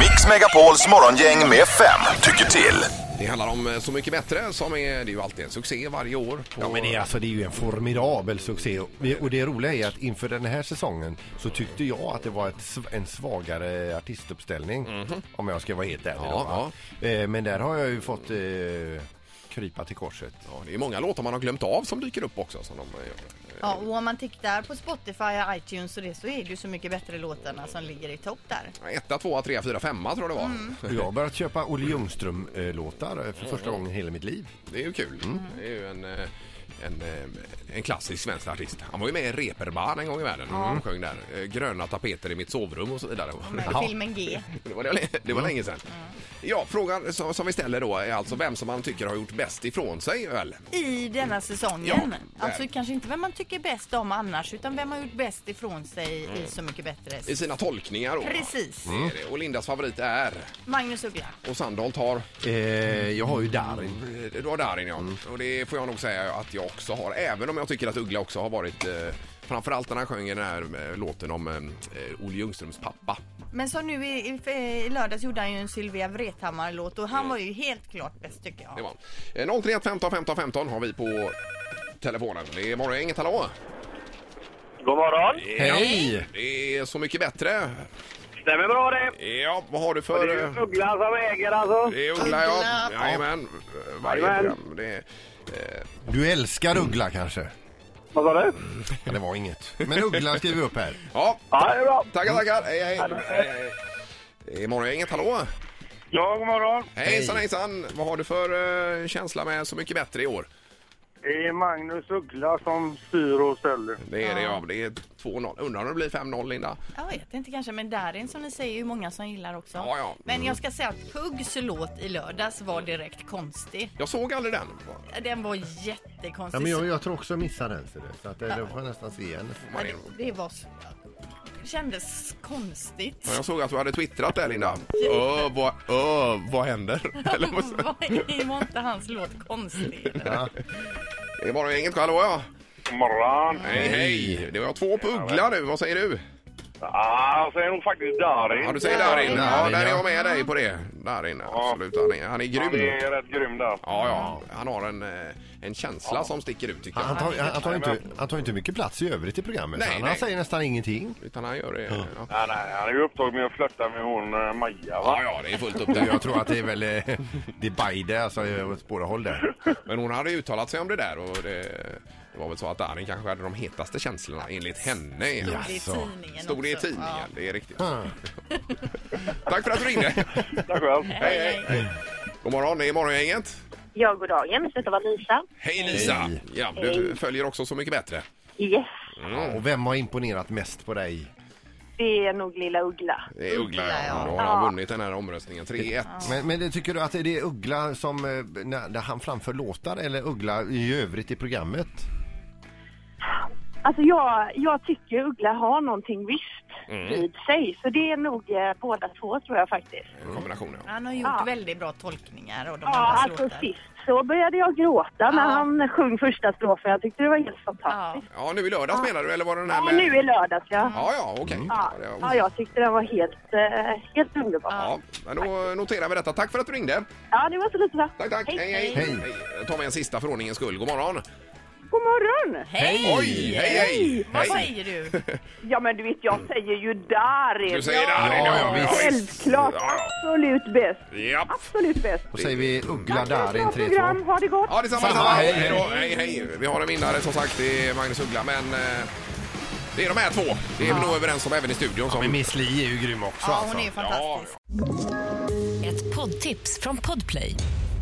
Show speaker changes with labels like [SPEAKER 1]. [SPEAKER 1] Mix Megapols morgongäng med fem tycker till.
[SPEAKER 2] Det handlar om eh, Så mycket bättre som är, det är ju alltid en succé varje år. På,
[SPEAKER 3] Ja, men det, är- alltså, det är ju en formidabel succé. Och- Och det roliga är att inför den här säsongen så tyckte jag att det var ett, sv- en svagare artistuppställning. Om jag ska vara helt ärlig. då,
[SPEAKER 2] Ja,
[SPEAKER 3] va? Eh, Men där har jag ju fått eh, krypa till korset.
[SPEAKER 2] Ja, det är många låtar man har glömt av som dyker upp också. Som de eh, gör.
[SPEAKER 4] Ja, och om man tittar på Spotify, iTunes och det så är det ju så mycket bättre låtarna som ligger i topp där.
[SPEAKER 2] eh, Etta, tvåa, trea, fyra, femma tror jag det var.
[SPEAKER 3] Och jag har börjat köpa Olle Ljungström-låtar eh, för första gången i hela mitt liv.
[SPEAKER 2] Det är ju kul. Det är ju en, eh, en, eh, en klassisk svensk artist. Han var ju med i Reeperbahn en gång i världen. Han sjöng där. eh, Gröna tapeter i mitt sovrum och så vidare.
[SPEAKER 4] Med
[SPEAKER 2] Ja.
[SPEAKER 4] filmen G.
[SPEAKER 2] Det var, det var länge sedan. Ja, frågan som, som vi ställer då är alltså vem som man tycker har gjort bäst ifrån sig väl?
[SPEAKER 4] I denna säsongen.
[SPEAKER 2] Ja, där.
[SPEAKER 4] alltså kanske inte vem man tycker bäst om annars utan vem har gjort bäst ifrån sig
[SPEAKER 2] Mm.
[SPEAKER 4] i Så mycket bättre.
[SPEAKER 2] I sina tolkningar då.
[SPEAKER 4] Precis.
[SPEAKER 2] Det är det. Och Lindas favorit är...
[SPEAKER 4] Magnus Uggla.
[SPEAKER 2] Och Sandholt har...
[SPEAKER 3] Eh, Jag har ju Darin.
[SPEAKER 2] Du har Darin, ja. Och det får jag nog säga att jag också har. Även om jag tycker att Uggla också har varit... Eh, framförallt när han sjöng den här eh, låten om eh, Olle Ljungströms pappa.
[SPEAKER 4] Men som nu i, i, i lördags gjorde han ju en Sylvia Vrethammar-låt och han var ju helt klart bäst tycker
[SPEAKER 2] Mm. Det
[SPEAKER 4] jag.
[SPEAKER 2] var han. Eh, 031 15 15 15 har vi på telefonen. Det är morgongänget, hallå!
[SPEAKER 5] God morgon.
[SPEAKER 3] Hej!
[SPEAKER 2] Det är Så mycket bättre.
[SPEAKER 5] Stämmer bra det.
[SPEAKER 2] Ja, vad har du
[SPEAKER 5] Det
[SPEAKER 2] för...
[SPEAKER 5] är ju
[SPEAKER 2] eh,
[SPEAKER 5] Ugglan som äger alltså.
[SPEAKER 2] Det är Uggla, ja.
[SPEAKER 4] Uggla.
[SPEAKER 2] Jajamän. Varje
[SPEAKER 5] Jajamän.
[SPEAKER 2] program. Det är,
[SPEAKER 3] Du älskar Uggla kanske?
[SPEAKER 5] Vad sa du?
[SPEAKER 3] Ja, det var inget. Men Uggla skriver upp här.
[SPEAKER 2] ja,
[SPEAKER 5] Ja, det är bra.
[SPEAKER 2] tackar, tackar. Hej, hej. hej, hej. Det är morgongänget, hallå!
[SPEAKER 5] Ja, god morgon.
[SPEAKER 2] Hejsan, hejsan! Vad har du för eh, känsla med Så mycket bättre i år?
[SPEAKER 5] Det är Magnus Uggla som styr och ställer.
[SPEAKER 2] Det är det, ja. Det är 2-0. Undrar om det blir 5-0, Linda?
[SPEAKER 4] Jag vet inte kanske, men Darin som ni säger är ju många som gillar också.
[SPEAKER 2] Ja, Mm. ja.
[SPEAKER 4] Men jag ska säga att Puggs låt i lördags var direkt konstig.
[SPEAKER 2] Jag såg aldrig den.
[SPEAKER 4] Den var jättekonstig.
[SPEAKER 3] Ja, men jag, jag tror också jag missade den. ser du. Så att, eh, det får jag nästan se igen.
[SPEAKER 4] Ja, det, det var så... Det kändes konstigt.
[SPEAKER 2] Men Jag såg att du hade twittrat där, Linda. Öh, vad, öh, vad händer? Eller vad så-
[SPEAKER 4] Var var inte hans låt konstig?
[SPEAKER 3] Ja.
[SPEAKER 2] Det är morgongänget, hallå ja!
[SPEAKER 5] God morgon.
[SPEAKER 2] Hej, hej! Det var två på Uggla nu. Vad säger du?
[SPEAKER 5] Ja, alltså, jag säger nog faktiskt
[SPEAKER 2] Ja,
[SPEAKER 5] Darin.
[SPEAKER 2] du säger Darin. Ja,
[SPEAKER 3] Darin,
[SPEAKER 2] där är
[SPEAKER 3] ja.
[SPEAKER 2] jag med dig på det. Darin, absolut. Han är, han är grym.
[SPEAKER 5] rätt grym där.
[SPEAKER 2] Ja, ja. Han har en, eh, en känsla som sticker ut tycker
[SPEAKER 3] Han
[SPEAKER 2] jag.
[SPEAKER 3] tar, han, tar inte, han tar inte mycket plats i övrigt i programmet.
[SPEAKER 2] Nej,
[SPEAKER 3] han,
[SPEAKER 2] nej.
[SPEAKER 3] han säger nästan ingenting.
[SPEAKER 2] Utan han gör det. Ja.
[SPEAKER 5] Nej, nej, han är ju upptagen med att flörta med hon eh, Maja,
[SPEAKER 2] ja,
[SPEAKER 5] va?
[SPEAKER 2] ja, det är fullt upp där.
[SPEAKER 3] Jag tror att det är väl eh, det är Bajde, alltså eh, åt båda håll där.
[SPEAKER 2] Men hon hade ju uttalat sig om det där och det, det var väl så att Darin kanske hade de hetaste känslorna enligt henne.
[SPEAKER 3] Ja.
[SPEAKER 4] Det är
[SPEAKER 3] Alltså.
[SPEAKER 4] tidningen
[SPEAKER 2] Stod det i
[SPEAKER 4] också.
[SPEAKER 2] tidningen,
[SPEAKER 4] Ja.
[SPEAKER 2] det är riktigt.
[SPEAKER 3] Ah.
[SPEAKER 2] Tack för att du ringde.
[SPEAKER 5] Tack själv.
[SPEAKER 2] hej, hej, hej. God morgon, det är Morgongänget.
[SPEAKER 6] Ja, god dagen. Detta var Lisa.
[SPEAKER 2] Hej Lisa! Ja, du följer också Så mycket bättre.
[SPEAKER 6] Yes,
[SPEAKER 3] Ja, Och vem har imponerat mest på dig?
[SPEAKER 6] det är nog lilla Uggla.
[SPEAKER 2] Det är Uggla,
[SPEAKER 4] Uggla,
[SPEAKER 2] ja.
[SPEAKER 4] ja.
[SPEAKER 2] Då har han vunnit den här omröstningen. 3-1.
[SPEAKER 3] Men, men det- tycker du att det är Uggla som eh, när, när han framför låtar eller Uggla i övrigt i programmet?
[SPEAKER 6] Alltså jag, jag tycker Uggla har någonting visst
[SPEAKER 2] Mm.
[SPEAKER 6] vid sig. Så det är nog eh, båda två tror jag faktiskt.
[SPEAKER 2] Kombinationen. ja.
[SPEAKER 4] Han har gjort
[SPEAKER 6] Ja.
[SPEAKER 4] väldigt bra tolkningar av de
[SPEAKER 6] Ja,
[SPEAKER 4] andras
[SPEAKER 6] alltså
[SPEAKER 4] låtar.
[SPEAKER 6] sist så började jag gråta när
[SPEAKER 4] Ja.
[SPEAKER 6] han sjöng första strofen. Jag tyckte det var helt
[SPEAKER 4] Ja.
[SPEAKER 6] fantastiskt.
[SPEAKER 2] Ja, nu i lördags menar du? Eller var det den här
[SPEAKER 6] Ja,
[SPEAKER 2] med...
[SPEAKER 6] nu i lördags ja.
[SPEAKER 2] Ja, ja, okej.
[SPEAKER 6] Ja,
[SPEAKER 2] det var-
[SPEAKER 6] ja, jag tyckte den var helt, eh, helt underbar.
[SPEAKER 2] Ja, men då noterar vi detta. Tack för att du ringde.
[SPEAKER 6] Ja, det var så lite bra.
[SPEAKER 2] Tack, tack. Hej, hej.
[SPEAKER 3] hej.
[SPEAKER 2] Jag tar med en sista för ordningens skull. God morgon.
[SPEAKER 6] God morgon!
[SPEAKER 4] Hej!
[SPEAKER 2] Oj, hej, hej.
[SPEAKER 4] Vad
[SPEAKER 2] Hej.
[SPEAKER 4] säger du?
[SPEAKER 6] Ja, men du vet, jag säger ju Darin.
[SPEAKER 2] Du säger Darin,
[SPEAKER 3] Ja, ja, visst.
[SPEAKER 6] Självklart,
[SPEAKER 2] Ja,
[SPEAKER 6] absolut bäst.
[SPEAKER 2] ja. Japp.
[SPEAKER 6] Absolut bäst.
[SPEAKER 3] Då säger vi Uggla
[SPEAKER 6] Tack för ett
[SPEAKER 3] Darin
[SPEAKER 6] bra program.
[SPEAKER 3] 3-2.
[SPEAKER 6] Ha det gott.
[SPEAKER 2] Ja, detsamma,
[SPEAKER 3] Samma,
[SPEAKER 2] detsamma. Hej,
[SPEAKER 3] hej,
[SPEAKER 2] hej, då.
[SPEAKER 3] hej.
[SPEAKER 2] hej, hej. Vi har en vinnare som sagt, det är Magnus Uggla, men eh, det är de här två. Det är vi nog överens om även i studion. Som...
[SPEAKER 3] Men Miss Li är ju grym också
[SPEAKER 4] Ja,
[SPEAKER 3] alltså.
[SPEAKER 4] hon är fantastisk.
[SPEAKER 7] Ett poddtips från Podplay.